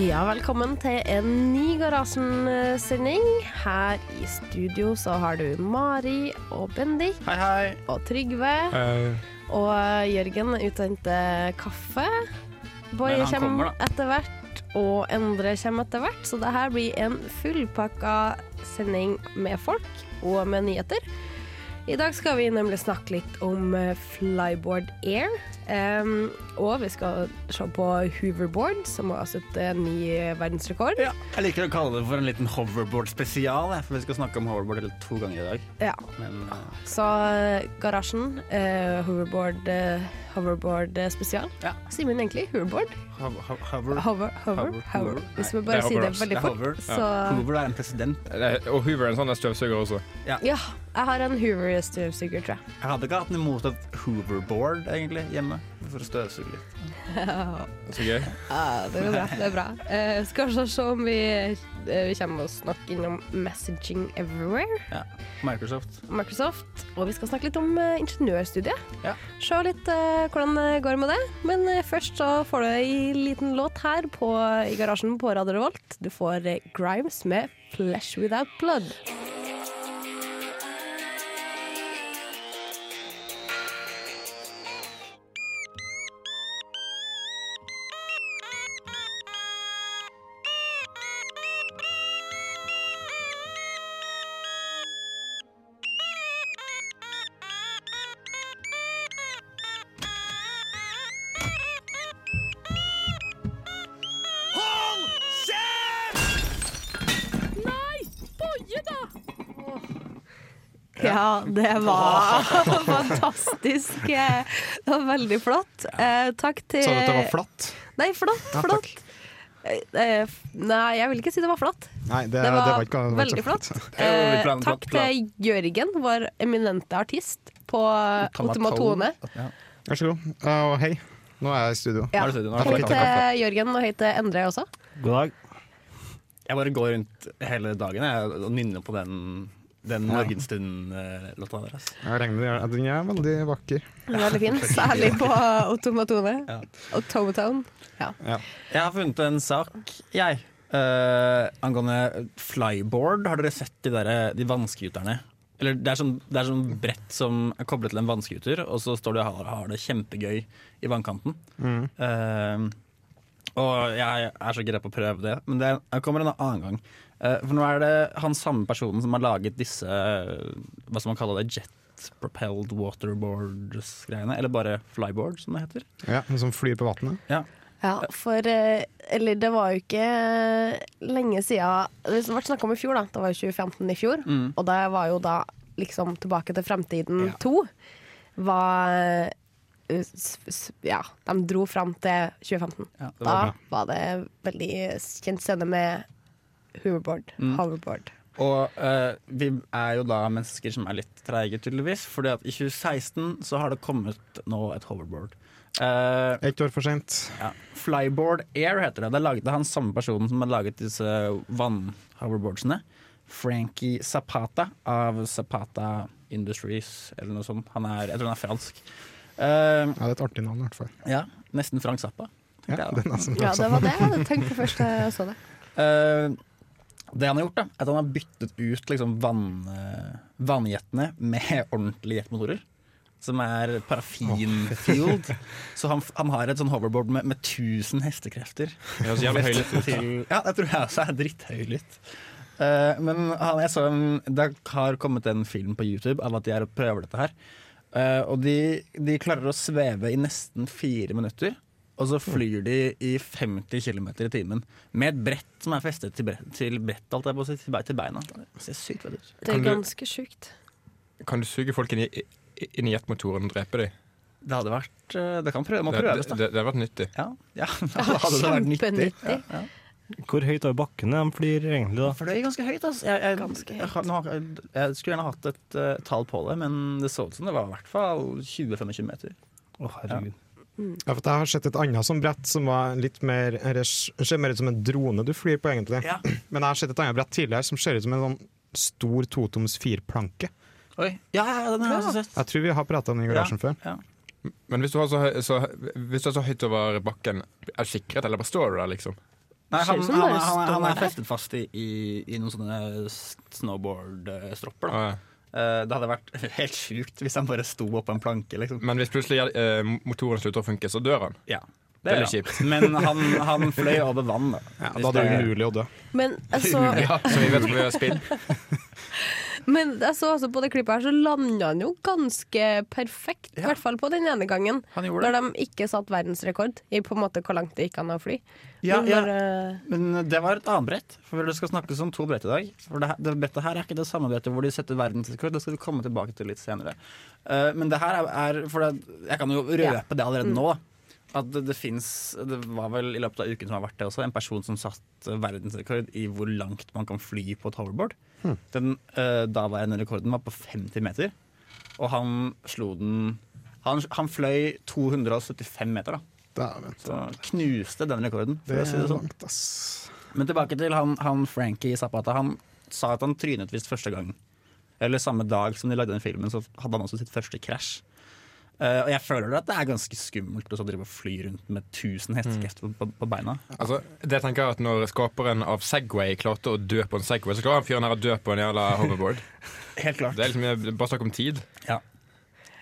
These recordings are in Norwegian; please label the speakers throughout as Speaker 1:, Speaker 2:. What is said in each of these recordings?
Speaker 1: Ja, velkommen til en ny Garasjen-sending. Her i studio så har du Mari og Bendik
Speaker 2: Hei, hei.
Speaker 1: og Trygve. Og eh, Jørgen utsendte kaffe. Boy
Speaker 2: Men han
Speaker 1: kommer
Speaker 2: kommer,
Speaker 1: etter hvert, og Endre kommer etter hvert. Så det her blir en fullpakka sending med folk og med nyheter. I dag skal vi nemlig snakke litt om eh, flyboard air. em, og vi skal se på hoverboard, som har satt eh, ny verdensrekord.
Speaker 2: Ja, jeg liker å kalle det for en liten hoverboard-spesial, jeg, for vi skal snakke om hoverboard to ganger i dag.
Speaker 1: Ja,
Speaker 2: Men eh,
Speaker 1: Så eh, garasjen, eh, hoverboard, eh, hoverboard eh, spesial.
Speaker 2: Ja.
Speaker 1: Sier man egentlig hoverboard?
Speaker 2: hover,
Speaker 1: Hover, hover,
Speaker 2: Hover,
Speaker 1: hover.
Speaker 2: hover.
Speaker 1: Hvis vi
Speaker 3: det
Speaker 1: bare
Speaker 3: er
Speaker 1: sier det
Speaker 3: hover,
Speaker 1: veldig
Speaker 2: det er hover.
Speaker 1: fort, så
Speaker 2: hover er en president.
Speaker 3: Det er- Og Hoover er en sånn der støvsuger også.
Speaker 1: Ja, jeg har en Hoover-støvsuger, tror jeg.
Speaker 2: Jeg hadde ikke hatt noe imot et hoverboard egentlig hjemme, for å støvsuge litt.
Speaker 3: Så gøy.
Speaker 1: Ja, det er bra. det er bra. Eh, skal vi se om vi, eh, vi kommer oss nok innom Messaging Everywhere,
Speaker 2: Ja. Microsoft.
Speaker 1: Microsoft. Og vi skal snakke litt om eh, ingeniørstudiet.
Speaker 2: Ja.
Speaker 1: Se litt eh, hvordan det går med det. Men eh, først så får du ei liten låt her på, i garasjen på Radio Revolt. Du får eh, Grimes med 'Flesh Without Blood'. Ja, det var fantastisk. eh, Det var veldig flott. Eh, takk til
Speaker 3: Sa du at det var flatt?
Speaker 1: Nei, flott, flott. Eh, eh, f- Nei, jeg vil ikke si det var flott.
Speaker 4: Nei,
Speaker 1: Det
Speaker 4: det, det
Speaker 1: var,
Speaker 4: var ikke det var ikke
Speaker 1: veldig flott.
Speaker 3: Det er jo litt
Speaker 1: Eh,
Speaker 3: blandet
Speaker 1: takk
Speaker 3: platt,
Speaker 1: til Jørgen, vår eminente artist på Automatone.
Speaker 2: Ja.
Speaker 4: Vær så god. Eh, og hei, nå er jeg i studio.
Speaker 1: Ja.
Speaker 2: Nå er det studio, nå er det
Speaker 1: Hei
Speaker 2: kaffe.
Speaker 1: til Jørgen, og hei til Endre også.
Speaker 2: God dag. Jeg bare går rundt hele dagen jeg, og nynner på den, den eh, Morgenstund-låta deres.
Speaker 4: Jeg regner med at Den er veldig vakker.
Speaker 1: Veldig fin. Særlig på Automatone.
Speaker 2: Ja.
Speaker 1: Automatown. Ja.
Speaker 2: Jeg har funnet en sak, jeg. eh, angående flyboard. Har dere sett de, der, de vannskuterne? Eller det, er sånn, det er sånn brett som er koblet til en vannskuter, og så står du og har, har det kjempegøy i vannkanten. Eh, og jeg er så gira på å prøve det, men det jeg kommer en annen gang. Eh, for nå er det han samme personen som har laget disse eh, Hva skal man kalle det? Jet propelled waterboards-greiene? Eller bare flyboard, som det heter.
Speaker 4: Ja, den Som flyr på vannet.
Speaker 2: Ja.
Speaker 1: Ja, for eh, Eller det var jo ikke eh, lenge siden Det ble snakka om i fjor, da. Det var jo 2015 i fjor. Og det var jo da liksom Tilbake til fremtiden
Speaker 2: Mm. Ja.
Speaker 1: 2 var eh, s- s- Ja, de dro fram til 2015.
Speaker 2: Ja, det
Speaker 1: da
Speaker 2: var
Speaker 1: var det veldig kjent scene med hoverboard.
Speaker 2: Mm.
Speaker 1: hoverboard.
Speaker 2: Og eh, vi er jo da mennesker som er litt treige, tydeligvis. Fordi at i 2016 så har det kommet nå et hoverboard. Eh,
Speaker 4: Ett år for sent.
Speaker 2: ja. Flyboard Air heter det. Det er laget av han samme personen som har laget disse vannhoverboardsene. Frankie Zapata av Zapata Industries eller noe sånt. Han er, jeg tror han er fransk. Eh,
Speaker 4: Ja, det er et artig navn, i hvert fall.
Speaker 2: ja, nesten Frank Zappa. tenkte
Speaker 4: Ja,
Speaker 2: jeg da.
Speaker 4: den er som
Speaker 1: Ja,
Speaker 2: sånn.
Speaker 1: det var det jeg hadde tenkt på først da jeg så det.
Speaker 2: Eh, det han har gjort, da, er at han har byttet ut liksom, vann, eh, vannjetene med ordentlige jetmotorer. Som er paraffin-fueled. Så han, f- han har et sånn hoverboard med, med 1000 hestekrefter.
Speaker 3: Det høres jævlig høylytt ut.
Speaker 2: Til, ja, det tror jeg også er dritthøylytt. Eh, men han, jeg så en, det har kommet en film på YouTube av at de er og prøver dette her. Eh, og de, de klarer å sveve i nesten fire minutter. og så flyr de i 50 km i timen med et brett som er festet til brett, til brett alt jeg på, å si, til be- til beina. Det ser sykt fett ut.
Speaker 1: Det er
Speaker 3: Kan du-
Speaker 1: ganske sjukt.
Speaker 3: Kan du suge folk inn i, i- inn i jetmotoren og drepe dem?
Speaker 2: Det hadde vært eh, Det kan prøve, må
Speaker 3: Det, det,
Speaker 2: prøves,
Speaker 3: det,
Speaker 2: da.
Speaker 3: det har vært nyttig.
Speaker 2: Ja, ja. Hadde det vært nyttig? Ja,
Speaker 1: Kjempenyttig.
Speaker 2: ja.
Speaker 5: Hvor høyt over bakken er de flyr egentlig, da?
Speaker 2: For det er ganske høyt, altså. Jeg, jeg,
Speaker 1: Ganske
Speaker 2: Jeg, har- nå har- jeg skulle gjerne hatt et eh, tall på det, men det så ut som det var i hvert fall 20-25 meter.
Speaker 5: Å, herregud.
Speaker 4: Ja, for jeg har sett et annet sånn brett som var litt mer eller ser mer ut som en drone du flyr på, egentlig.
Speaker 2: Ja.
Speaker 4: Men jeg har sett et annet brett tidligere som ser ut som en sånn stor totoms firplanke.
Speaker 2: Oi. Ja, ja, ja, den har jeg også sett.
Speaker 4: Jeg tror vi har prata om den i garasjen før.
Speaker 2: Ja.
Speaker 3: Men hvis du, har så, høy- så, hvis du er så høyt over bakken, er du sikret, eller bare står du der, liksom?
Speaker 2: Nei,
Speaker 1: Ser
Speaker 2: han,
Speaker 1: ut som
Speaker 2: han,
Speaker 1: det
Speaker 2: er- han, er- han
Speaker 1: står
Speaker 2: er
Speaker 1: der.
Speaker 2: festet fast i, i, i noen sånne s- snowboard-stropper. da.
Speaker 3: Ah, ja.
Speaker 2: Eh, Det hadde vært helt sjukt hvis han bare sto oppå en planke, liksom.
Speaker 3: Men hvis plutselig eh, motoren slutter å funke, så dør han.
Speaker 2: Ja.
Speaker 3: Det er
Speaker 2: da.
Speaker 3: litt kjipt.
Speaker 2: Men han, han fløy over vann, da.
Speaker 4: Ja, da er det jo umulig å dø.
Speaker 1: Men altså,
Speaker 3: Ja, så vi vet hvor vi har spill.
Speaker 1: men jeg så altså på det klippet her, så landa han jo ganske perfekt. I
Speaker 2: Ja.
Speaker 1: hvert fall på den ene gangen.
Speaker 2: Han gjorde
Speaker 1: Når
Speaker 2: det.
Speaker 1: de ikke satt verdensrekord i på en måte hvor langt det gikk an å fly.
Speaker 2: Ja,
Speaker 1: Men
Speaker 2: ja.
Speaker 1: når, eh,
Speaker 2: Men det var et annet brett. For Det skal snakkes om to brett i dag. For det, her- det brettet her er ikke det samme brettet hvor de setter verdensrekord. Det skal vi komme tilbake til litt senere. Eh, men det her er, er For det, jeg kan jo røpe
Speaker 1: Ja.
Speaker 2: det allerede nå. At det, det fins Det var vel i løpet av uken som har vært det også, en person som satte verdensrekord i hvor langt man kan fly på et hoverboard.
Speaker 4: Hmm.
Speaker 2: Den uh, daværende rekorden var på 50 meter, og han slo den Han, han fløy 275 meter, da.
Speaker 4: Dæven.
Speaker 2: Så knuste den rekorden, for
Speaker 4: Det
Speaker 2: å si det
Speaker 4: er
Speaker 2: sånn.
Speaker 4: langt, ass.
Speaker 2: Men tilbake til han, han Frankie Zapata. Han sa at han trynet visst første gang. Eller samme dag som de lagde den filmen, så hadde han også sitt første krasj. Eh, og jeg føler at det er ganske skummelt å så drive og fly rundt med 1000 hestekrefter på, på, på beina.
Speaker 3: Altså, det jeg tenker er at Når skaperen av Segway klarte å dø på en Segway, så klarer han fyren her å dø på en jævla hoverboard.
Speaker 2: Helt klart.
Speaker 3: Det er liksom bare snakk om tid.
Speaker 2: Ja.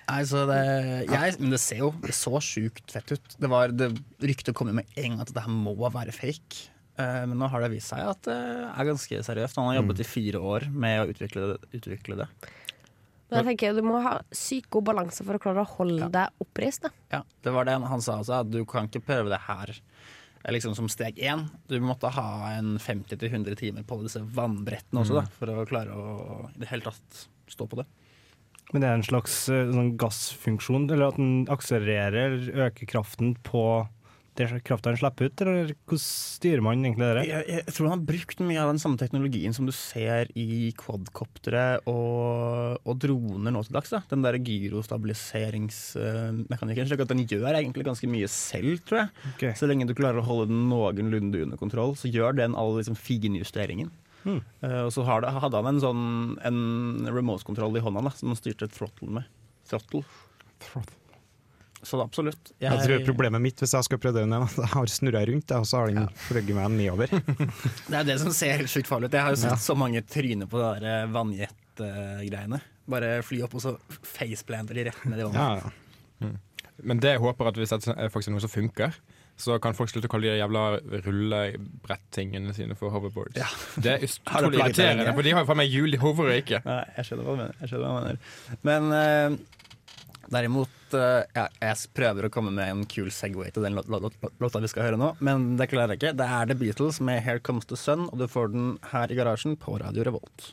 Speaker 2: Nei, så det, jeg, men det ser jo det så sjukt fett ut. Det, var, det Ryktet kom jo med en gang at det her må være fake. Eh, men nå har det vist seg at det er ganske seriøst. Han har jobbet i fire år med å utvikle det. Utvikle det.
Speaker 1: men jeg tenker du må ha sykt god balanse for å klare å holde deg oppreist. Da.
Speaker 2: Ja, det var det han- han sa også, at du kan ikke prøve det her eh, liksom som steg én. Du måtte ha en 50-100 timer på disse vannbrettene også, da, for å klare å i det hele tatt stå på det.
Speaker 5: Men det er en slags eh, sånn gassfunksjon, eller at den akselererer, eller øker kraften på det krafta den slipper ut, eller hvordan styrer man egentlig det? der?
Speaker 2: Jeg, jeg tror han har brukt mye av den samme teknologien som du ser i quadcoptere og, og droner nå til dags. Da. Den der gyrostabiliseringsmekanikken. Slik at den gjør egentlig ganske mye selv, tror jeg.
Speaker 5: Ok.
Speaker 2: Så lenge du klarer å holde den noenlunde under kontroll, så gjør den all liksom, finjusteringen.
Speaker 5: Hmm.
Speaker 2: Eh, og så har det, hadde han en sånn En remote-kontroll i hånda da, som han styrte throttle med. Throttle. Så absolutt.
Speaker 4: Jeg tror problemet mitt hvis jeg skal prøve det igjen, er at jeg har snurra rundt, jeg, og så har den fløyet meg nedover.
Speaker 2: Det er det som ser helt sjukt farlig ut. Jeg har jo sett så mange tryner på det der eh, vannjetgreiene. Bare fly opp, og så faceplanter de rett ned i vannet.
Speaker 4: Ja, ja.
Speaker 3: Men det jeg håper at hvis dette er faktisk noe som funker, så kan folk slutte å kalle de jævla rullebrettingene sine for hoverboards.
Speaker 2: Ja.
Speaker 3: Det er
Speaker 2: Har du plaget
Speaker 3: utrolig
Speaker 2: deg
Speaker 3: irriterende,
Speaker 2: lenge?
Speaker 3: for de har jo faen meg hjul, de hoverer ikke.
Speaker 2: Nei, jeg skjønner hva du mener. Jeg skjønner hva du mener. Men eh, derimot eh, ja, Jeg prøver å komme med en kul Segway til den lå- lå- lå- låta vi skal høre nå, men det klarer jeg ikke. Det er The Beatles med 'Here Comes the Sun', og du får den her i garasjen på Radio Revolt.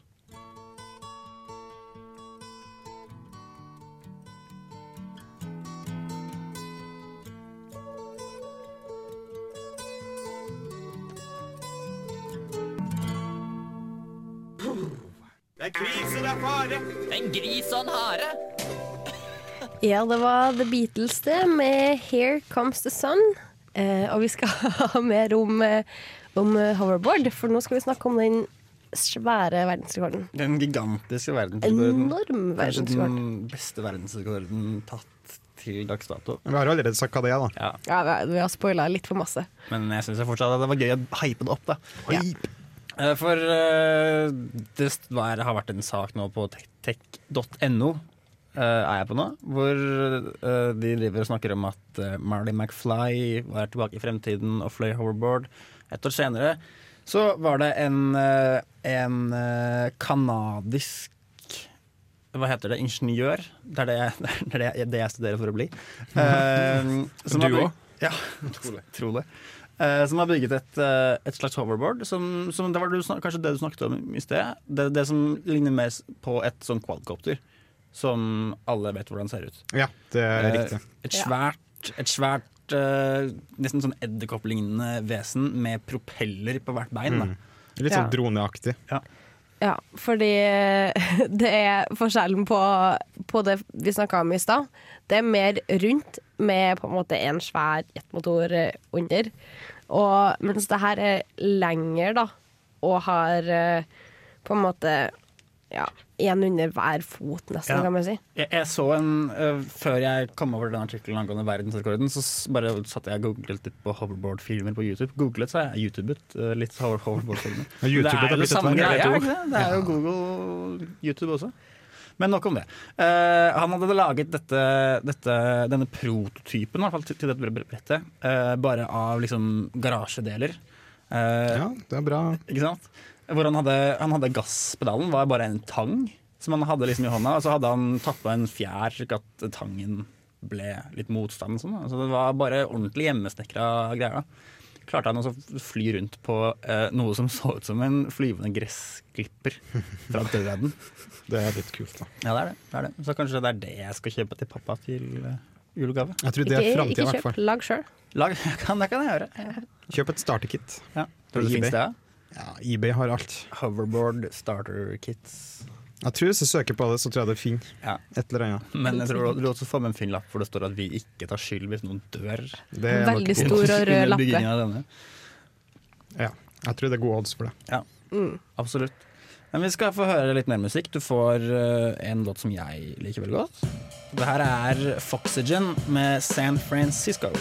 Speaker 1: Ja, det var The Beatles det, med 'Here Comes the Sun'. Eh, og vi skal ha mer om, eh, om eh, hoverboard, for nå skal vi snakke om den svære verdensrekorden.
Speaker 2: Den gigantiske verdensrekorden.
Speaker 1: Enorm
Speaker 2: Kanskje
Speaker 1: verdensrekord.
Speaker 2: den beste verdensrekorden tatt til dags dato.
Speaker 4: Vi har allerede sagt hva det er, da.
Speaker 2: Ja.
Speaker 1: Ja, vi har- vi har spoila litt for masse.
Speaker 2: Men jeg syns fortsatt at det var gøy å hype det opp. da
Speaker 1: Ja.
Speaker 2: Eh, For eh, det st- var, har vært en sak nå på tech- tech.no, eh, er jeg på nå, hvor eh, de driver og snakker om at eh, Marty McFly var tilbake i fremtiden og fløy hoverboard. Et år senere så var det en, eh, en eh, kanadisk hva heter det? Ingeniør? Det er det jeg, det er det jeg, det jeg studerer for å bli. Eh, som
Speaker 3: Du
Speaker 2: har brukt-
Speaker 3: òg?
Speaker 2: Ja, tro det. Eh, som har bygget et, eh, et slags hoverboard, som, som det var du, snak- kanskje det du snakket om i sted. Det, det som ligner mer s- på et sånn quadcopter, som alle vet hvordan ser ut.
Speaker 4: Ja, det er
Speaker 2: Eh,
Speaker 4: riktig.
Speaker 2: Et
Speaker 1: Ja.
Speaker 2: svært, et svært eh, nesten sånn edderkopplignende vesen med propeller på hvert bein. Da.
Speaker 4: Litt sånn
Speaker 1: ja.
Speaker 4: droneaktig.
Speaker 1: Ja, fordi det er forskjellen på, på det vi snakka om i stad. Det er mer rundt med på en måte en svær jetmotor eh, under. Og, mens det her er lenger, da, og har eh, på en måte ja, én under hver fot, nesten,
Speaker 2: Ja.
Speaker 1: kan man si.
Speaker 2: Jeg, jeg så en eh, Før jeg kom over den artikkelen angående verdensrekorden, så s- bare satt jeg og googlet litt på hoverboard-filmer på YouTube. Googlet, sa jeg. YouTubet eh, litt hover hoverboard-filmer.
Speaker 4: Ja,
Speaker 2: Men
Speaker 4: YouTubet
Speaker 2: det
Speaker 4: har
Speaker 2: er jo
Speaker 4: blitt
Speaker 2: det
Speaker 4: et
Speaker 2: samme
Speaker 4: verre
Speaker 2: greia, er
Speaker 4: ord.
Speaker 2: det ikke det? Det er jo Google YouTube også. Men nok om det. Eh, han hadde laget dette, dette, denne prototypen i hvert fall, til, til dette bre- bre- brettet eh, bare av liksom garasjedeler. Eh,
Speaker 4: Ja, det er bra.
Speaker 2: ikke sant? Hvor han hadde, han hadde gasspedalen, var bare en tang som han hadde liksom i hånda. Og så hadde han tatt på en fjær, slik at tangen ble litt motstand. og Sånn, da. så det var bare ordentlig hjemmesnekra greier. da. Klarte han også å fly rundt på eh, noe som så ut som en flyvende gressklipper fra døden.
Speaker 4: Det er litt kult, da.
Speaker 2: Ja, det er det. det er det. Så kanskje det er det jeg skal kjøpe til pappa til eh, julegave.
Speaker 4: Jeg tror det er
Speaker 1: Ikke,
Speaker 4: framtida,
Speaker 1: ikke
Speaker 4: i hvert
Speaker 1: kjøp,
Speaker 4: fall.
Speaker 1: lag sjøl.
Speaker 2: Lag, kan, det kan jeg gjøre.
Speaker 4: Kjøp et starterkit.
Speaker 2: Ja.
Speaker 4: Tror du det
Speaker 2: Finnes
Speaker 4: finnes?
Speaker 2: det?
Speaker 4: Ja, eBay har alt.
Speaker 2: Hoverboard starter kits.
Speaker 4: Jeg tror Hvis du søker på det, så tror jeg det finner
Speaker 2: Ja.
Speaker 4: et eller annet.
Speaker 2: Men jeg tror du også får med en fin lapp hvor det står at vi ikke tar skyld hvis noen dør.
Speaker 4: Det er nok
Speaker 1: Veldig
Speaker 4: godt.
Speaker 1: stor og rød
Speaker 2: Under
Speaker 1: lappe.
Speaker 2: byggingen av denne.
Speaker 4: Ja, jeg tror det er gode odds for det.
Speaker 2: Absolutt. Men vi skal få høre litt mer musikk. Du får eh, en låt som jeg liker veldig godt. Det her er Foxygen med San Francisco.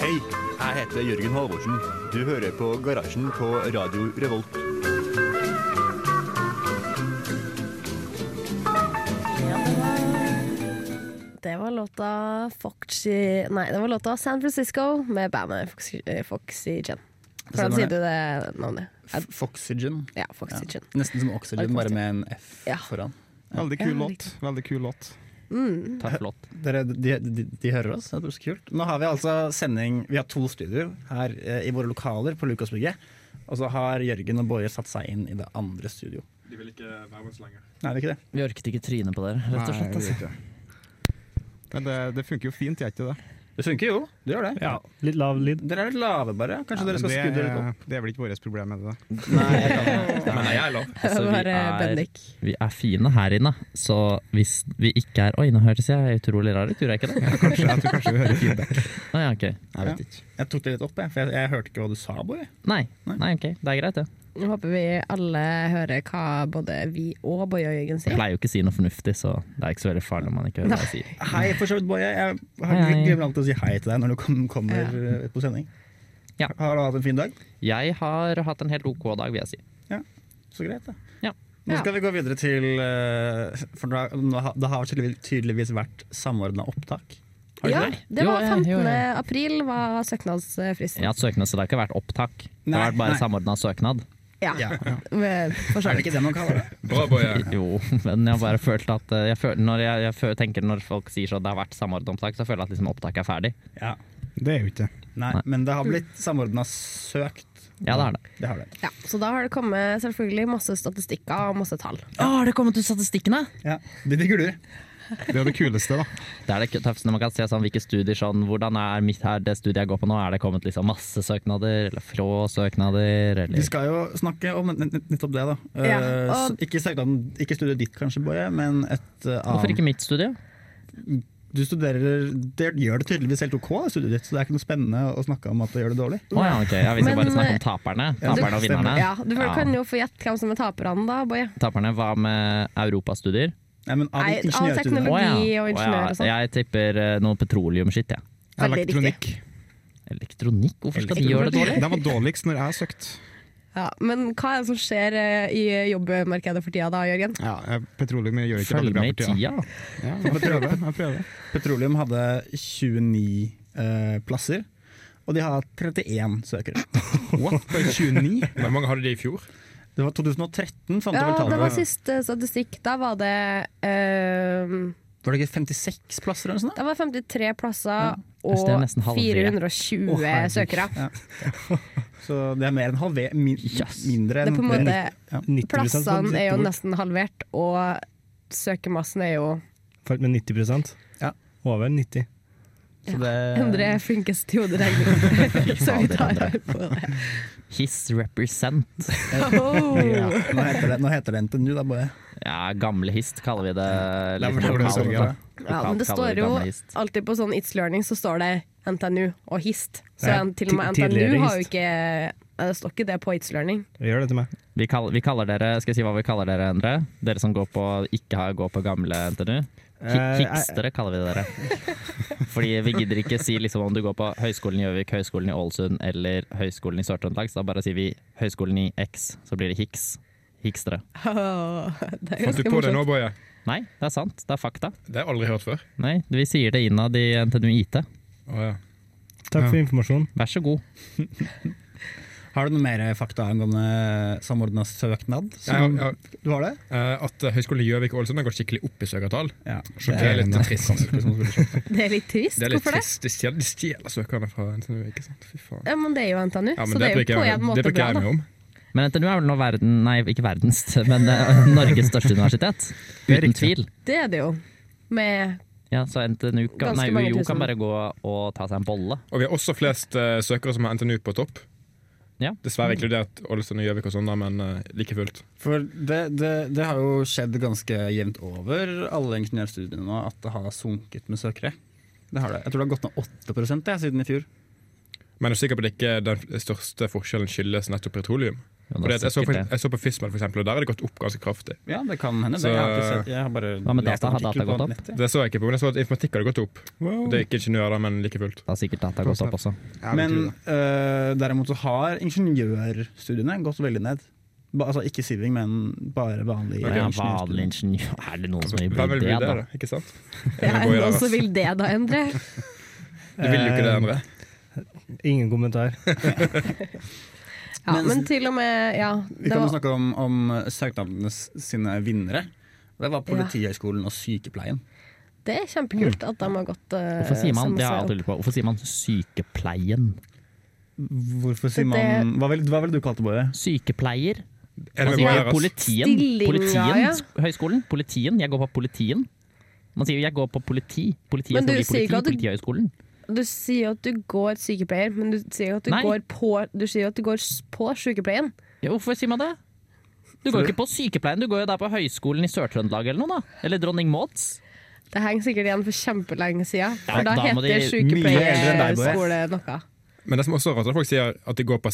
Speaker 6: Hei, jeg heter Jørgen Halvorsen. Du hører på Garasjen på Radio Revolt.
Speaker 1: Det var låta Foxy Nei, det var låta San Francisco med bandet Foxy, eh, Foxygen. Hvordan sier du det navnet?
Speaker 2: F- Foxygen.
Speaker 1: Ja, Foxygen.
Speaker 2: Nesten som Oxygen, bare med en F
Speaker 1: Ja.
Speaker 2: foran.
Speaker 7: Veldig
Speaker 1: Ja,
Speaker 7: kul
Speaker 1: like.
Speaker 7: låt. Veldig kul låt.
Speaker 2: Takk for låt. Dere, de, de, de hører oss, det er så kult. Nå har vi altså sending Vi har to studioer her eh, i våre lokaler på Lukasbygget. Og så har Jørgen og Boje satt seg inn i det andre studio.
Speaker 7: De vil ikke være med oss lenger.
Speaker 2: Nei, det er ikke det.
Speaker 8: Vi orket ikke trynet på dere, rett og slett. Altså.
Speaker 7: Men det, det funker jo fint, gjør ikke det?
Speaker 2: Det funker jo. Det gjør det.
Speaker 5: Ja, litt lav lyd.
Speaker 2: Dere er litt lave, bare. Kanskje
Speaker 7: Men
Speaker 2: dere skal
Speaker 7: det,
Speaker 2: skudde litt opp.
Speaker 7: det er vel ikke vårt problem med det. da.
Speaker 2: Men jeg er lav.
Speaker 8: Altså, vi
Speaker 1: Bare
Speaker 8: er,
Speaker 1: Bendik.
Speaker 8: vi er fine her inne, så hvis vi ikke er Oi, nå høres jeg utrolig rar ut, gjorde jeg ikke det?
Speaker 7: Kanskje, jeg tror kanskje vi hører feedback.
Speaker 8: Nei, ok. Jeg vet ikke.
Speaker 2: Jeg tok det litt opp, jeg, for jeg, jeg hørte ikke hva du sa, Boje.
Speaker 8: Nei, nei, ok. Det er greit, det.
Speaker 1: Jeg håper vi alle hører hva både vi og Boje og Jørgen
Speaker 8: Jeg
Speaker 1: sier.
Speaker 8: pleier jo ikke å si noe fornuftig, så det er ikke så veldig farlig om man ikke hører hva jeg sier.
Speaker 2: Hei, for så vidt, Boje. Jeg har
Speaker 8: Hei.
Speaker 2: glemt alltid å si hei til deg når du kom, kommer eh, på sending.
Speaker 8: Ja.
Speaker 2: Har du hatt en fin dag?
Speaker 8: Jeg har hatt en helt OK dag, vil jeg si.
Speaker 2: Så greit, da.
Speaker 8: Ja.
Speaker 2: Nå skal vi gå videre til eh, For da, nå har- det har tydeligvis- tydeligvis vært samordna opptak. Har du
Speaker 1: Ja,
Speaker 2: det?
Speaker 1: det var
Speaker 8: Jo, jeg-
Speaker 1: 15.
Speaker 8: jo, jeg-
Speaker 1: april var søknadsfristen.
Speaker 8: Jeg har hatt søknad, så det har ikke vært opptak. Det
Speaker 2: Nei,
Speaker 8: har vært bare
Speaker 2: nei.
Speaker 8: samordna søknad.
Speaker 1: Ja.
Speaker 2: Ja.
Speaker 1: Med- For så
Speaker 2: Er
Speaker 1: vidt.
Speaker 2: det ikke det man kaller det?
Speaker 7: Bra, Boje.
Speaker 8: Jo, men jeg har bare følt at eh, jeg føl- Når jeg, jeg føl- tenker når folk sier så at det har vært samordna opptak, så føler jeg at liksom opptaket er ferdig.
Speaker 2: Ja.
Speaker 4: Det er jo ikke
Speaker 2: Nei, men det har blitt samordna søkt.
Speaker 8: Ja, det er det.
Speaker 2: Det har det.
Speaker 1: Ja, så da har det kommet selvfølgelig masse statistikker og masse tall.
Speaker 8: Å, har det kommet ut statistikkene?
Speaker 2: Ja. Det digger du.
Speaker 4: Det er jo det kuleste, da.
Speaker 8: Det er det k- tøffeste man kan se sånn, hvilke studier sånn, hvordan er mitt her, det studiet jeg går på nå, er det kommet liksom masse søknader, eller frå søknader,
Speaker 2: Vi
Speaker 8: eller
Speaker 2: skal jo snakke om nett- nett- nettopp det, da.
Speaker 1: Ja,
Speaker 2: Eh,
Speaker 1: og-
Speaker 2: s- ikke, søknaden, ikke studiet ditt kanskje, Boje, men et eh,
Speaker 8: Hvorfor
Speaker 2: annet.
Speaker 8: ikke mitt studie?
Speaker 2: Du studerer Det gjør det tydeligvis helt OK, det studiet ditt, så det er ikke noe spennende å snakke om at det gjør det dårlig.
Speaker 8: Å ja, ok, ja, vi
Speaker 1: Men, eh,
Speaker 8: skal bare snakke om taperne,
Speaker 2: ja, det
Speaker 8: taperne og
Speaker 2: stemmer.
Speaker 8: vinnerne.
Speaker 1: Ja, Du får- kan jo få gjette hvem som er taperne, da, Boje.
Speaker 8: Taperne, hva med europastudier?
Speaker 2: Nei, men av
Speaker 1: Nei, av
Speaker 2: ingeniørstudiet.
Speaker 1: teknologi. Biologi og ingeniør og sånn.
Speaker 8: Jeg tipper eh, noe petroleumskitt, jeg.
Speaker 1: Veldig riktig.
Speaker 7: Elektronikk.
Speaker 8: Elektronikk, hvorfor skal de gjøre det dårlig?
Speaker 7: Den var dårligst når jeg søkte.
Speaker 1: Ja, men hva er det som skjer eh, i jobbmarkedet for tida da, Jørgen?
Speaker 7: Ja, eh, petroleum gjør ikke veldig
Speaker 8: Følg
Speaker 7: bra
Speaker 8: med i
Speaker 7: for tida.
Speaker 8: tida.
Speaker 7: Ja, jeg prøver. Jeg prøver.
Speaker 2: Petroleum hadde 29 eh, plasser, og de har 31 søkere.
Speaker 7: What? Bare 29? Hvor mange hadde de i fjor?
Speaker 2: Det var 2013, fant jeg
Speaker 1: Ja,
Speaker 2: vel
Speaker 1: det
Speaker 2: tallet.
Speaker 1: var siste statistikk. Da var det eh,
Speaker 2: Var det ikke 56 plasser eller noe sånt?
Speaker 1: Da var det 53 plasser
Speaker 8: Altså, det er nesten
Speaker 1: og
Speaker 8: halvert.
Speaker 1: 420
Speaker 2: Å, herregud.
Speaker 1: søkere.
Speaker 2: Ja. Så det er mer enn halve, min, mindre
Speaker 1: Det er
Speaker 2: enn
Speaker 1: på en måte, E
Speaker 2: Ja.
Speaker 5: 90
Speaker 1: plassene er jo
Speaker 5: bort.
Speaker 1: nesten halvert, og søkermassen er jo
Speaker 5: Falt med 90
Speaker 2: Ja.
Speaker 5: Over 90
Speaker 2: Så det,
Speaker 3: Eh.
Speaker 1: Endre er flinkest til hoderegning, så vi tar høyde på det.
Speaker 8: His represent.
Speaker 1: Oh.
Speaker 2: nå, heter det, nå heter det NTNU, da, bare.
Speaker 8: Ja, gamle hist kaller vi det.
Speaker 2: La meg-
Speaker 8: Litt
Speaker 2: la meg
Speaker 8: lokalt,
Speaker 2: sørge,
Speaker 8: da.
Speaker 2: ja.
Speaker 1: Ja, men
Speaker 8: Lokalt
Speaker 1: det
Speaker 8: kaller vi
Speaker 1: står jo
Speaker 8: gamle hist.
Speaker 1: alltid på sånn It's Learning så står det NTNU og HIST. Så
Speaker 5: Ja,
Speaker 1: en- til og med
Speaker 5: ti- tidligere
Speaker 1: NTNU har jo
Speaker 5: HIST.
Speaker 1: ikke Det står ikke det på It's Learning.
Speaker 5: Gjør det til meg
Speaker 8: Vi kaller, vi kaller dere, skal jeg si hva vi kaller dere, Endre? Dere som går på, ikke har, går på gamle NTNU? Hi-
Speaker 5: Eh,
Speaker 8: Hipstere kaller vi dere. Fordi vi gidder ikke si liksom om du går på Høgskolen i Gjøvik, Høgskolen i Ålesund eller Høgskolen i Sør-Trøndelag, så da bare sier vi Høgskolen i X, så blir det Hiks. Hikstere.
Speaker 1: det er
Speaker 3: Fant du
Speaker 1: ganske
Speaker 3: på det nå,
Speaker 1: morsomt.
Speaker 3: Boje?
Speaker 8: Nei, det er sant. Det er fakta.
Speaker 3: Det har jeg aldri hørt før.
Speaker 8: Nei, vi sier det innad i NTNU IT.
Speaker 3: Å, ja.
Speaker 5: Takk for informasjonen
Speaker 8: Vær så god.
Speaker 2: Har du noe mer fakta angående samordna søknad?
Speaker 3: Jeg,
Speaker 2: Som,
Speaker 3: jeg,
Speaker 2: Du har det?
Speaker 3: eh, at eh, Høgskolen i Gjøvik og Ålesund har gått skikkelig opp i søkertall.
Speaker 2: Ja.
Speaker 3: Det er litt trist.
Speaker 1: Det er litt trist.
Speaker 3: Det er
Speaker 1: sånn Hvorfor det?
Speaker 3: litt trist. De stjeler, de stjeler søkerne fra NTNU, ikke sant? Fy faen.
Speaker 1: Ja, men det er jo NTNU,
Speaker 3: Ja,
Speaker 1: så
Speaker 3: men
Speaker 1: det
Speaker 3: det
Speaker 1: er
Speaker 3: bryr
Speaker 1: jo på en måte
Speaker 3: ikke
Speaker 1: bra.
Speaker 3: jeg
Speaker 1: Da.
Speaker 3: meg om.
Speaker 8: Men NTNU er vel nå verden, nei, ikke verdens, men eh, Norges største universitet. Uten tvil.
Speaker 1: Det er det jo. Med
Speaker 8: Ja, så NTNU
Speaker 1: Ganske
Speaker 8: kan, nei,
Speaker 1: mange
Speaker 8: UiO
Speaker 1: tusen.
Speaker 8: kan bare gå og ta seg en bolle.
Speaker 3: Og vi har også flest eh, søkere som har NTNU på topp.
Speaker 8: Ja.
Speaker 3: Dessverre inkludert Ålesund og Gjøvik og sånn, da, men eh, like fullt.
Speaker 2: For det, det, det har jo skjedd ganske jevnt over alle ingeniørstudiene nå, at det har sunket med søkere. Det har det. Jeg tror det har gått ned 8 det, siden i fjor.
Speaker 3: Men jeg er sikker på at ikke den største forskjellen skyldes nettopp petroleum.
Speaker 8: Ja,
Speaker 3: Fordi
Speaker 8: det
Speaker 3: at
Speaker 8: er
Speaker 3: jeg, så
Speaker 8: sikkert
Speaker 3: for,
Speaker 8: det.
Speaker 3: jeg så på FISMED, for eksempel, og der har det gått opp ganske kraftig.
Speaker 2: Ja, det kan hende. det.
Speaker 3: Så-
Speaker 2: Jeg har ikke sett. Jeg har bare
Speaker 8: Hva med
Speaker 2: lest
Speaker 8: data?
Speaker 2: en
Speaker 8: Har data
Speaker 2: artikkel på
Speaker 8: gått opp?
Speaker 2: nettet.
Speaker 3: Det så jeg ikke på, men jeg så at informatikk hadde gått opp.
Speaker 2: Oh.
Speaker 3: Det er ikke ingeniører, da, men like fullt.
Speaker 8: Da har sikkert data gått opp også.
Speaker 2: Men øh, derimot så har ingeniørstudiene gått veldig ned. Ba, altså ikke siving, men bare vanlig
Speaker 8: Ja, vanlig
Speaker 2: ingeniørstudier.
Speaker 8: ingeniør Er det noen
Speaker 1: Altså,
Speaker 8: som vil
Speaker 3: Hvem vil
Speaker 8: bli
Speaker 3: bli
Speaker 8: det,
Speaker 3: det,
Speaker 8: da?
Speaker 3: da? Ikke sant?
Speaker 1: ja,
Speaker 3: Jeg går i
Speaker 1: enda
Speaker 3: det,
Speaker 1: så
Speaker 3: ass.
Speaker 1: vil det da endre.
Speaker 3: Du vil jo ikke det,
Speaker 5: Eh,
Speaker 3: André.
Speaker 5: Ingen kommentar
Speaker 1: Ja,
Speaker 2: Men-
Speaker 1: men til og med Ja.
Speaker 2: Vi
Speaker 1: Det
Speaker 2: kan jo
Speaker 1: var,
Speaker 2: snakke om, om søknadene s- sine vinnere. Det var Politihøgskolen og sykepleien.
Speaker 1: det er kjempekult
Speaker 2: Mm.
Speaker 1: at de har gått eh,
Speaker 8: Hvorfor sier man,
Speaker 1: sammen
Speaker 8: det har jeg
Speaker 1: seg
Speaker 8: alltid
Speaker 1: opp.
Speaker 8: lurt på, hvorfor sier man sykepleien?
Speaker 2: Hvorfor sier
Speaker 1: Det-
Speaker 2: man Hva ville vil du kalt det, Boje?
Speaker 8: Sykepleier?
Speaker 3: Er det med
Speaker 8: Man sier
Speaker 3: Bojer, ass?
Speaker 8: politien.
Speaker 1: Stillinga,
Speaker 8: Politien,
Speaker 1: ja.
Speaker 8: sk- høyskolen. Politien. Jeg går på politien. Man sier jo 'jeg går på politi'. Politiet
Speaker 1: Men
Speaker 8: står
Speaker 1: du
Speaker 8: i
Speaker 1: sier
Speaker 8: politi,
Speaker 1: ikke at du-
Speaker 8: Politihøgskolen.
Speaker 1: Du sier at du går sykepleier, men du sier at du
Speaker 8: Nei.
Speaker 1: går på Du sier at du går s- på sykepleien.
Speaker 8: Ja, hvorfor sier man det? Du går jo ikke på sykepleien, du går jo der på Høgskolen i Sør-Trøndelag eller noe, da. Eller Dronning Mauds.
Speaker 1: Det henger sikkert igjen for kjempelenge siden. For
Speaker 8: Ja,
Speaker 1: da,
Speaker 8: da
Speaker 1: heter
Speaker 8: må de-
Speaker 1: det
Speaker 2: Mye eldre enn deg, Boje.
Speaker 1: sykepleierskole noe.
Speaker 3: Men det som også er rart, er at folk sier at de går på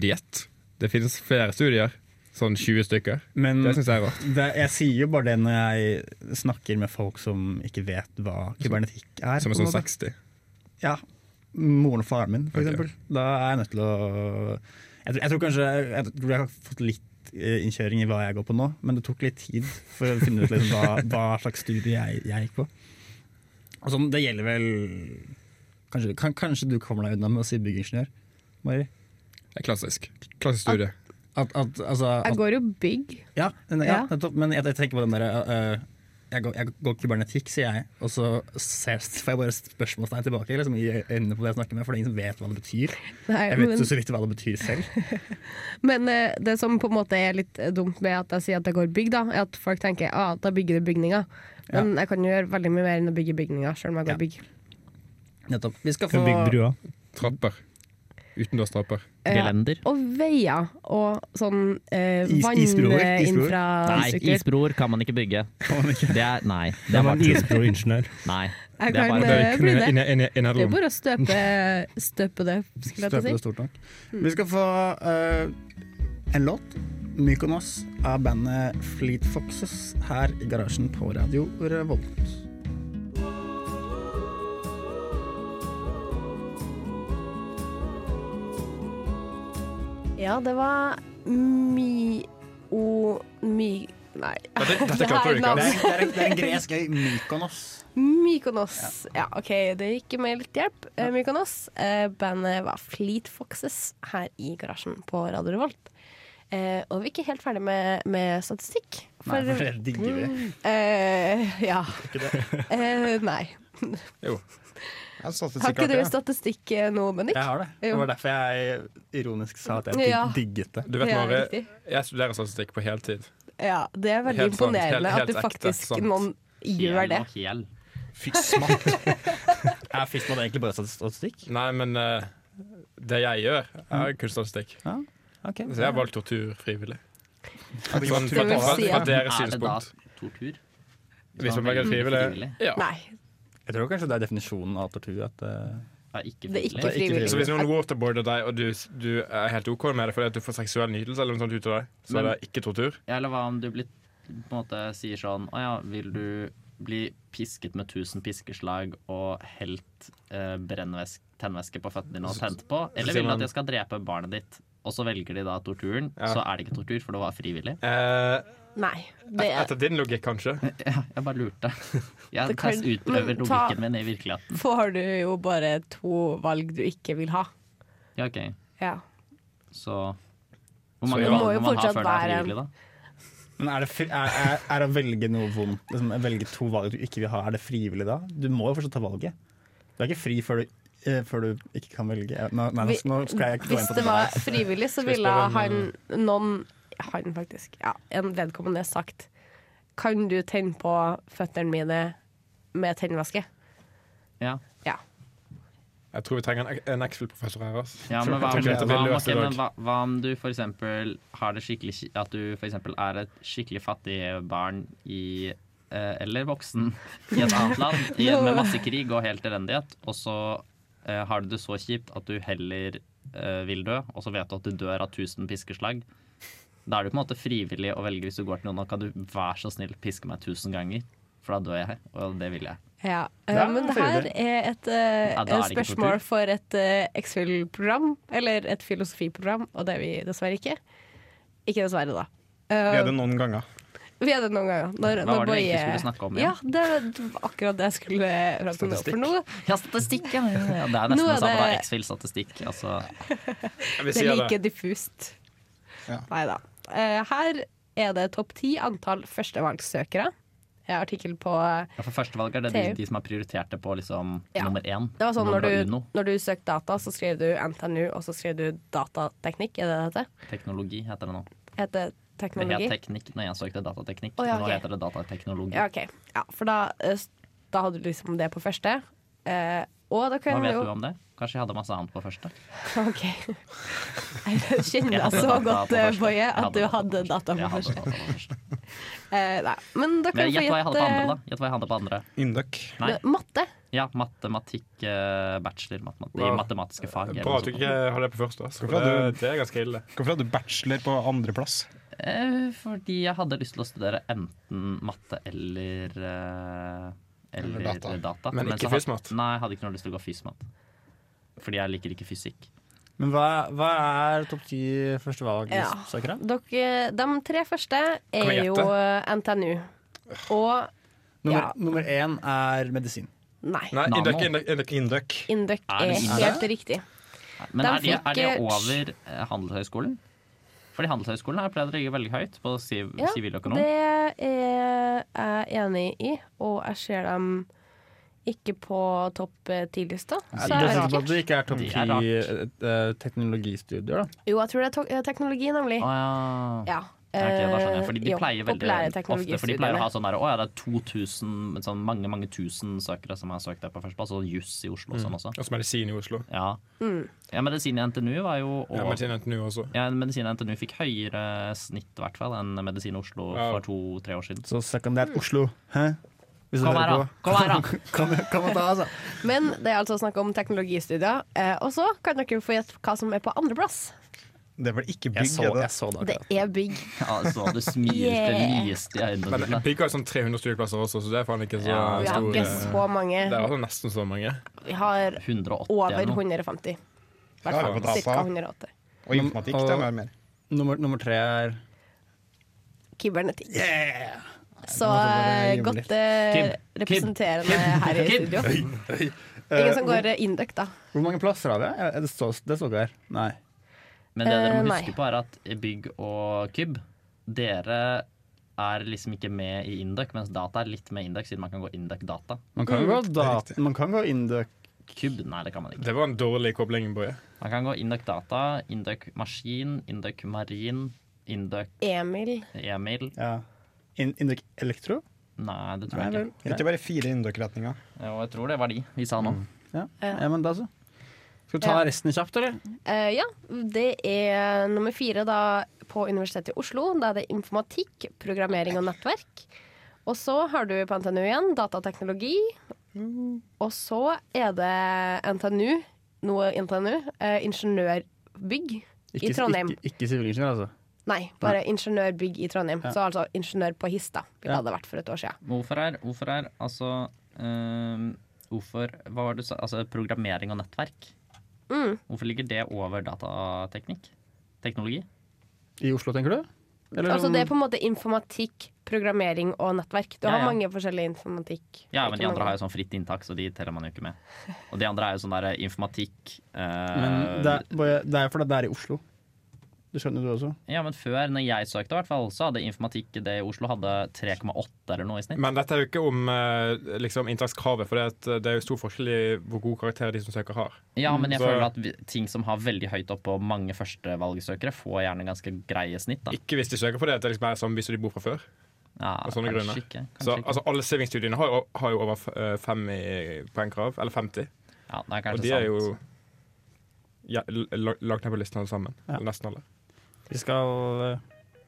Speaker 3: sivilingeniørstudiet. Det finnes flere studier, sånn 20 stykker.
Speaker 2: Men
Speaker 3: Det syns jeg er rart.
Speaker 2: det, jeg sier jo bare det når jeg snakker med folk som ikke vet hva kybernetikk er.
Speaker 3: Som
Speaker 2: på
Speaker 3: er
Speaker 2: en
Speaker 3: sånn
Speaker 2: måte.
Speaker 3: 60.
Speaker 2: Ja. Moren og faren min, for
Speaker 3: Ok.
Speaker 2: eksempel. Da er jeg nødt til å Jeg tror, jeg tror kanskje jeg, tror jeg har fått litt eh, innkjøring i hva jeg går på nå, men det tok litt tid for å finne ut liksom, hva, hva slags studie jeg, jeg gikk på. Og sånn, det gjelder vel Kanskje, kan, kanskje du kommer deg unna med å si byggingeniør, Mari?
Speaker 3: Det er klassisk. Klassisk studie.
Speaker 2: At, at, altså, at,
Speaker 1: Jeg går jo bygg.
Speaker 2: Ja, den,
Speaker 1: Ja.
Speaker 2: ja, nettopp. Men jeg, jeg tenker på den derre øh, jeg, går- jeg går kybernetikk, sier jeg, og så ser, får jeg bare spørsmålstegn tilbake liksom, i øynene på det jeg snakker med, for det er ingen som vet hva det betyr.
Speaker 1: Nei,
Speaker 2: Jeg vet
Speaker 1: men
Speaker 2: jo så vidt hva det betyr selv.
Speaker 1: men eh, det som på en måte er litt eh, dumt med at jeg sier at jeg går bygg, da, er at folk tenker ah, da bygger du bygninger. Men jeg kan jo gjøre veldig mye mer enn å bygge bygninger, selv om jeg
Speaker 2: Ja.
Speaker 1: går bygg.
Speaker 2: Nettopp. Vi skal få
Speaker 5: Kan bygge brua
Speaker 3: Trapper. Utendørstrapper.
Speaker 1: Ja.
Speaker 8: Gelender.
Speaker 1: Eh, Og veier og sånn eh,
Speaker 2: Is- isbroer, isbroer.
Speaker 8: Nei,
Speaker 1: vanninfrastruktur.
Speaker 8: isbroer kan man ikke bygge. Det er, nei, det
Speaker 5: Det
Speaker 8: er
Speaker 5: var
Speaker 8: bare
Speaker 5: en
Speaker 8: tull.
Speaker 5: isbro-ingeniør
Speaker 8: Nei.
Speaker 1: Jeg
Speaker 8: Det er
Speaker 1: kan
Speaker 8: bare-
Speaker 3: Det
Speaker 1: eh,
Speaker 3: er kun
Speaker 1: bli
Speaker 3: i-
Speaker 1: det.
Speaker 3: i- i- i en
Speaker 1: Det er
Speaker 3: hederrom.
Speaker 1: bare å støpe, støpe det, skulle jeg
Speaker 2: støpe
Speaker 1: til
Speaker 2: det
Speaker 1: å si.
Speaker 2: stort nok.
Speaker 1: Mm.
Speaker 2: Vi skal få øh, en låt, 'Mykonos', av bandet Fleet Foxes, her i garasjen på Radio Revolt.
Speaker 1: Ja, det var mi... O... Mi... Nei.
Speaker 3: Dette, dette klarte du ikke.
Speaker 1: Nei,
Speaker 3: ass.
Speaker 2: Det er, en gresk øy, Mykonos.
Speaker 1: Mykonos. Ja, OK, det gikk med litt hjelp. Eh, Mykonos. Eh, Bandet var Fleet Foxes her i garasjen på Radio Revolt. Eh, og vi er ikke helt ferdig med, med statistikk. For,
Speaker 2: Nei, for det digger vi.
Speaker 1: eh, ja. Eh, nei.
Speaker 4: Jeg sa det
Speaker 1: Har ikke
Speaker 4: sikkert,
Speaker 1: du
Speaker 4: ja.
Speaker 1: statistikk eh, nå, Bennik?
Speaker 2: Jeg har det. Det
Speaker 1: Jo.
Speaker 2: var derfor jeg ironisk sa at jeg dig-
Speaker 1: Ja.
Speaker 2: digget det.
Speaker 3: Du vet,
Speaker 1: Ja,
Speaker 3: Mari,
Speaker 1: riktig.
Speaker 3: jeg studerer statistikk på heltid.
Speaker 1: Ja, det er veldig
Speaker 3: Helt sant,
Speaker 1: imponerende
Speaker 3: helt-
Speaker 1: at du
Speaker 3: helt ekte
Speaker 1: faktisk
Speaker 3: sant.
Speaker 1: noen gjør det.
Speaker 9: Hel.
Speaker 2: Er Fistmod egentlig bare statistikk?
Speaker 3: Nei, men eh, det jeg gjør,
Speaker 1: Mm.
Speaker 3: er kunststatistikk.
Speaker 2: Ok.
Speaker 3: Så jeg har valgt tortur frivillig.
Speaker 10: Det
Speaker 3: Sånn,
Speaker 1: Det
Speaker 3: fra,
Speaker 1: vil
Speaker 3: fra,
Speaker 1: si
Speaker 3: fra
Speaker 1: at-
Speaker 3: deres
Speaker 9: Er det da
Speaker 3: synspunkt.
Speaker 9: tortur?
Speaker 3: Hvis man velger frivillig. Ja.
Speaker 1: Nei,
Speaker 2: Jeg tror kanskje det er definisjonen av tortur. At, eh,
Speaker 9: Ja, ikke
Speaker 1: det er ikke
Speaker 9: frivillig.
Speaker 1: frivillig.
Speaker 3: Så hvis noen waterboarder deg, og du, du er helt OK med det fordi at du får seksuell nytelse, eller noe sånt ut av deg, så er det
Speaker 9: Men-
Speaker 3: ikke tortur?
Speaker 9: Ja, Eller hva om du blir, på en måte sier sånn Å ja, vil du bli pisket med 1000 piskeslag og helt eh, brennvæs- tennvæske på føttene dine og tent på? Eller vil du at jeg skal drepe barnet ditt? Og så velger de da torturen. Så er det ikke tortur, for det var frivillig.
Speaker 3: Eh,
Speaker 1: nei. Det er
Speaker 3: etter din logikk, kanskje.
Speaker 9: Ja, jeg bare lurte. Jeg
Speaker 1: Det kan-
Speaker 9: test
Speaker 1: Men
Speaker 9: utprøver
Speaker 1: ta-
Speaker 9: logikken min i virkeligheten.
Speaker 1: får du jo bare to valg du ikke vil ha.
Speaker 9: Ja, OK.
Speaker 1: Ja.
Speaker 9: Så Hvor
Speaker 1: det
Speaker 9: mange
Speaker 1: må
Speaker 9: valg
Speaker 1: jo
Speaker 9: må man ha
Speaker 1: fortsatt
Speaker 9: før det er
Speaker 1: være en-
Speaker 9: frivillig, da?
Speaker 2: men er det fri, er, er, er å velge noe vondt, liksom, å velge to valg du ikke vil ha, er det frivillig da? Du må jo fortsatt ta valget. Du er ikke fri før du, eh, før du ikke kan velge. Eh, Nå, nei, nå,
Speaker 1: Vi-
Speaker 2: nå skal jeg ikke gå
Speaker 1: Hvis
Speaker 2: inn på
Speaker 1: det
Speaker 2: det
Speaker 1: var
Speaker 2: der.
Speaker 1: frivillig, så
Speaker 3: vi
Speaker 1: ville
Speaker 3: spørre om,
Speaker 1: han noen Han faktisk, ja, en vedkommende sagt Kan du tenne på føttene mine med tennvæske?
Speaker 9: Ja.
Speaker 1: Ja.
Speaker 3: Jeg tror vi trenger en, en X-Fill-professor her. ass.
Speaker 9: Ja, men hva,
Speaker 3: Jeg
Speaker 9: om-
Speaker 3: tror dette
Speaker 9: hva,
Speaker 3: blir
Speaker 9: om-
Speaker 3: løst i
Speaker 9: ok, men
Speaker 3: dag.
Speaker 9: hva, hva om du for eksempel har det skikkelig ki- At du for eksempel er et skikkelig fattig barn i eh, Eller voksen i et annet land i, med masse krig og helt elendighet, og så eh, har du det så kjipt at du heller eh, vil dø, og så vet du at du dør av 1000 piskeslag. Da er du på en måte frivillig å velge hvis du går til noen og kan du være så snill piske meg 1000 ganger, for da dør jeg, og det vil jeg.
Speaker 1: Ja, eh,
Speaker 2: Da er
Speaker 1: men
Speaker 2: det
Speaker 1: det her
Speaker 2: frivillig.
Speaker 1: er et eh,
Speaker 9: Ja, da er det ikke
Speaker 1: spørsmål
Speaker 9: tortur.
Speaker 1: for et eh, X-Fill-program, eller et filosofiprogram, og det er vi dessverre ikke. Ikke dessverre, da. Eh,
Speaker 4: Vi er det noen ganger.
Speaker 1: vi er det noen ganger. Når,
Speaker 9: Hva
Speaker 1: når
Speaker 9: var det
Speaker 1: Boje-
Speaker 9: vi egentlig skulle snakke om igjen?
Speaker 1: Ja, det var akkurat det jeg skulle prate om nå. For nå
Speaker 9: Ja, statistikk, ja! ja, ja. Det er
Speaker 1: Nå
Speaker 9: nesten
Speaker 1: er
Speaker 9: det samme, da.
Speaker 1: det-
Speaker 9: X-Fill-statistikk. Altså,
Speaker 3: Vi
Speaker 1: Det er
Speaker 3: sier
Speaker 1: like
Speaker 3: det.
Speaker 1: diffust. Nei da. Eh, her er det topp ti antall førstevalgssøkere. Jeg har artikkel på eh,
Speaker 9: Ja, for førstevalg er det de,
Speaker 1: TU.
Speaker 9: de som har prioritert det på liksom
Speaker 1: Ja.
Speaker 9: nummer én.
Speaker 1: Det var sånn
Speaker 9: nummer
Speaker 1: når du,
Speaker 9: uno.
Speaker 1: når du søkte data, så skrev du NTNU, og så skrev du datateknikk. Er det det heter?
Speaker 9: Teknologi heter det nå.
Speaker 1: Heter
Speaker 9: Det het
Speaker 1: teknologi?
Speaker 9: teknikk når jeg søkte datateknikk.
Speaker 1: Å, ja,
Speaker 9: men Nå
Speaker 1: ok.
Speaker 9: heter det datateknologi.
Speaker 1: Ja, OK. Ja, for da, eh, s- da hadde du liksom det på første. Eh, og da
Speaker 9: Hva
Speaker 1: kan
Speaker 9: vet
Speaker 1: jo
Speaker 9: du om det? Kanskje jeg hadde masse annet på første?
Speaker 1: OK. Jeg kjenner deg
Speaker 9: Jeg hadde
Speaker 1: så
Speaker 9: data
Speaker 1: godt,
Speaker 9: på
Speaker 1: eh,
Speaker 9: første.
Speaker 1: Boje,
Speaker 9: Jeg
Speaker 1: at du hadde data på
Speaker 9: Jeg hadde
Speaker 1: første.
Speaker 9: data på første.
Speaker 1: Eh, nei. Men da kan
Speaker 9: Men
Speaker 1: du få
Speaker 9: gjett hva jeg hadde på andre,
Speaker 1: gjette
Speaker 9: da. Gjett hva jeg hadde på andre.
Speaker 4: Induc.
Speaker 9: Nei.
Speaker 1: matte.
Speaker 9: Ja, matematikk, eh, bachelor matematikk,
Speaker 3: Wow.
Speaker 9: i matematiske fag. eller
Speaker 3: Bra
Speaker 9: noe
Speaker 3: at du
Speaker 9: sånt.
Speaker 3: ikke har det på første. ass. For
Speaker 4: Hvorfor
Speaker 3: Det,
Speaker 4: hadde
Speaker 3: det er ganske ille.
Speaker 4: Hvorfor hadde du bachelor på andreplass?
Speaker 9: Eh, Fordi jeg hadde lyst til å studere enten matte eller eh,
Speaker 4: Eller
Speaker 9: eller data.
Speaker 4: data.
Speaker 3: Men ikke
Speaker 9: så had-
Speaker 3: fysmat.
Speaker 9: Nei, jeg hadde ikke noe lyst til å gå fysmat. Fordi jeg liker ikke fysikk.
Speaker 2: Men hva, hva er topp ti førstevalgsøkere?
Speaker 1: Dere, de tre første
Speaker 3: Kan
Speaker 1: er
Speaker 3: jeg
Speaker 1: jo
Speaker 3: gjette?
Speaker 1: eh, NTNU. Og
Speaker 2: Nummer,
Speaker 1: Ja.
Speaker 2: nummer én er medisin.
Speaker 1: nei,
Speaker 3: Nei,
Speaker 9: Nano.
Speaker 3: Induc, Induc, Induc.
Speaker 4: Induc.
Speaker 1: Induc
Speaker 9: Er
Speaker 1: er
Speaker 9: det Induc?
Speaker 1: helt riktig.
Speaker 9: Men
Speaker 1: De
Speaker 9: er de, er de
Speaker 1: fikk, eh,
Speaker 9: over eh, Handelshøyskolen? Fordi Handelshøyskolen har pleid å ligge veldig høyt på siv,
Speaker 1: Ja,
Speaker 9: siviløkonom.
Speaker 1: Det er jeg enig i, og jeg ser dem ikke på topp ti-lista.
Speaker 2: Er
Speaker 1: Så jeg
Speaker 2: du sikker på
Speaker 1: vet
Speaker 2: at
Speaker 1: ikke.
Speaker 2: det ikke er topp
Speaker 9: Det
Speaker 2: ti
Speaker 9: er rart.
Speaker 2: eh, teknologistudier, da?
Speaker 1: Jo, jeg tror det er tok- eh, teknologi, nemlig.
Speaker 9: Å ja.
Speaker 1: Ja.
Speaker 9: Ah, Ja, ok, da skjønner jeg.
Speaker 1: eh,
Speaker 9: Fordi de
Speaker 1: jo,
Speaker 9: pleier veldig
Speaker 1: populære
Speaker 9: ofte For de pleier å
Speaker 1: teknologistudiene.
Speaker 9: ha sånn der Å ja, det er 2000 men sånn mange, mange tusen søkere som har søkt der på førsteplass. Og juss i Oslo og sånn også.
Speaker 3: Og så medisin i Oslo.
Speaker 9: Ja.
Speaker 1: Mm.
Speaker 9: ja, medisin i NTNU var jo
Speaker 3: Ja,
Speaker 9: over.
Speaker 3: medisin i NTNU også.
Speaker 9: Ja, medisin i NTNU fikk høyere snitt i hvert fall enn Medisin Oslo
Speaker 3: Ja.
Speaker 9: for to-tre år siden.
Speaker 2: Så sekundært Oslo. Hæ? Hvis du
Speaker 9: Kom
Speaker 2: hører
Speaker 9: her, da!
Speaker 2: på.
Speaker 9: Kom her, da!
Speaker 2: Kan, kan man ta, altså?
Speaker 1: Men det er altså snakk om teknologistudier. eh, Og så kan dere få gjette hva som er på andreplass.
Speaker 4: Det er vel ikke
Speaker 2: Jeg
Speaker 4: bygg,
Speaker 2: så,
Speaker 4: er det?
Speaker 2: jeg så det
Speaker 1: Det
Speaker 2: akkurat.
Speaker 1: er bygg.
Speaker 9: Altså, du smilte
Speaker 1: Yeah.
Speaker 9: nyeste i øynene
Speaker 3: Men
Speaker 9: dine.
Speaker 3: Bygg har sånn 300 studieplasser også, så det er faen ikke så
Speaker 9: Ja,
Speaker 1: Vi har
Speaker 3: stor
Speaker 1: ikke
Speaker 3: eh,
Speaker 1: så mange.
Speaker 3: Det er altså nesten så mange.
Speaker 1: Vi har
Speaker 9: 180
Speaker 1: over
Speaker 9: eller noe.
Speaker 1: 150. Hvert
Speaker 4: Ja, det var
Speaker 1: fall
Speaker 4: data.
Speaker 1: ca. 180.
Speaker 4: Og informatikk,
Speaker 2: Og-
Speaker 4: det er mer mer.
Speaker 2: Nummer, nummer tre er
Speaker 1: Kybernetikk.
Speaker 2: yeah!
Speaker 1: Så
Speaker 2: Nå får dere
Speaker 1: eh,
Speaker 2: jobbe
Speaker 1: godt eh,
Speaker 9: Kim, Kim,
Speaker 1: representerende her i studio. Ingen som går eh, Induc, da.
Speaker 2: Hvor mange plasser har vi? Er det så, det så jeg her. Nei.
Speaker 9: Men det dere
Speaker 1: Eh,
Speaker 9: må
Speaker 1: nei.
Speaker 9: huske på, er at Bygg og Kyb, dere er liksom ikke med i Induc, mens data er litt med Induc, siden man kan gå Induc-data.
Speaker 2: Man kan gå, da, man kan gå indøk
Speaker 9: Kyb, nei, det kan man ikke.
Speaker 3: Det var en dårlig kobling, Boje.
Speaker 9: Man kan gå Induc-data, Induc-maskin, Induc-marin, Induc-Emil.
Speaker 1: Emil.
Speaker 2: ja. In, Indøk elektro?
Speaker 9: Nei, det tror
Speaker 2: Nei
Speaker 9: jeg
Speaker 2: vel.
Speaker 9: ikke.
Speaker 4: Det er ikke bare fire innendørsretninger.
Speaker 9: Jo, jeg tror det var de vi sa nå.
Speaker 2: Ja.
Speaker 1: Ja.
Speaker 2: ja, men da så. Skal vi ta
Speaker 1: Ja.
Speaker 2: resten kjapt, eller?
Speaker 1: Eh, ja, det er nummer fire da på Universitetet i Oslo. Da er det informatikk, programmering og nettverk. Og så har du på NTNU igjen datateknologi. Og så er det NTNU, noe NTNU, eh, ingeniørbygg i Trondheim.
Speaker 2: Ikke, ikke sivilingeniør, altså.
Speaker 1: Nei, bare ingeniørbygg i Trondheim. Så altså ingeniør på Hista, ville det vært for et år siden.
Speaker 9: Hvorfor er, hvorfor er, altså ehm, Hvorfor, hva var det du sa, altså programmering og nettverk?
Speaker 1: Mm.
Speaker 9: Hvorfor ligger det over datateknikk? Teknologi?
Speaker 2: I Oslo, tenker du? Eller
Speaker 1: Altså
Speaker 2: sånn-
Speaker 1: det er på en måte informatikk, programmering og nettverk. Du
Speaker 9: Ja,
Speaker 1: har
Speaker 9: ja.
Speaker 1: mange forskjellige informatikk.
Speaker 9: Ja, men de andre har
Speaker 1: mange.
Speaker 9: jo sånn fritt inntak, så de teller man jo ikke med. Og de andre er jo sånn der informatikk eh,
Speaker 2: Men det er, bare- det er jo fordi det er i Oslo. Du skjønner du også?
Speaker 9: Ja, men før, når jeg søkte i hvert fall, så hadde informatikk det i Oslo hadde 3,8 eller noe i snitt.
Speaker 3: Men dette er jo ikke om eh, liksom, inntakskravet, for det, at det er jo stor forskjell i hvor god karakter de som søker, har.
Speaker 9: Ja, men jeg
Speaker 3: Så-
Speaker 9: føler at vi- ting som har veldig høyt opp på mange førstevalgsøkere, får gjerne ganske greie snitt, da.
Speaker 3: Ikke hvis de søker på det, at det liksom er sånn hvis de bor fra før.
Speaker 9: Ja,
Speaker 3: Av sånne
Speaker 9: kanskje
Speaker 3: grunner.
Speaker 9: ikke, kanskje
Speaker 3: Så
Speaker 9: ikke.
Speaker 3: altså, alle savingstudiene har, jo- har jo over f- eh, fem i poengkrav, eller 50.
Speaker 9: ja, det er
Speaker 3: Og
Speaker 9: kanskje
Speaker 3: de er jo
Speaker 9: sant.
Speaker 3: ja, la- lagt ned på listen alle sammen.
Speaker 2: Ja.
Speaker 3: Eller nesten alle.
Speaker 2: Vi skal eh,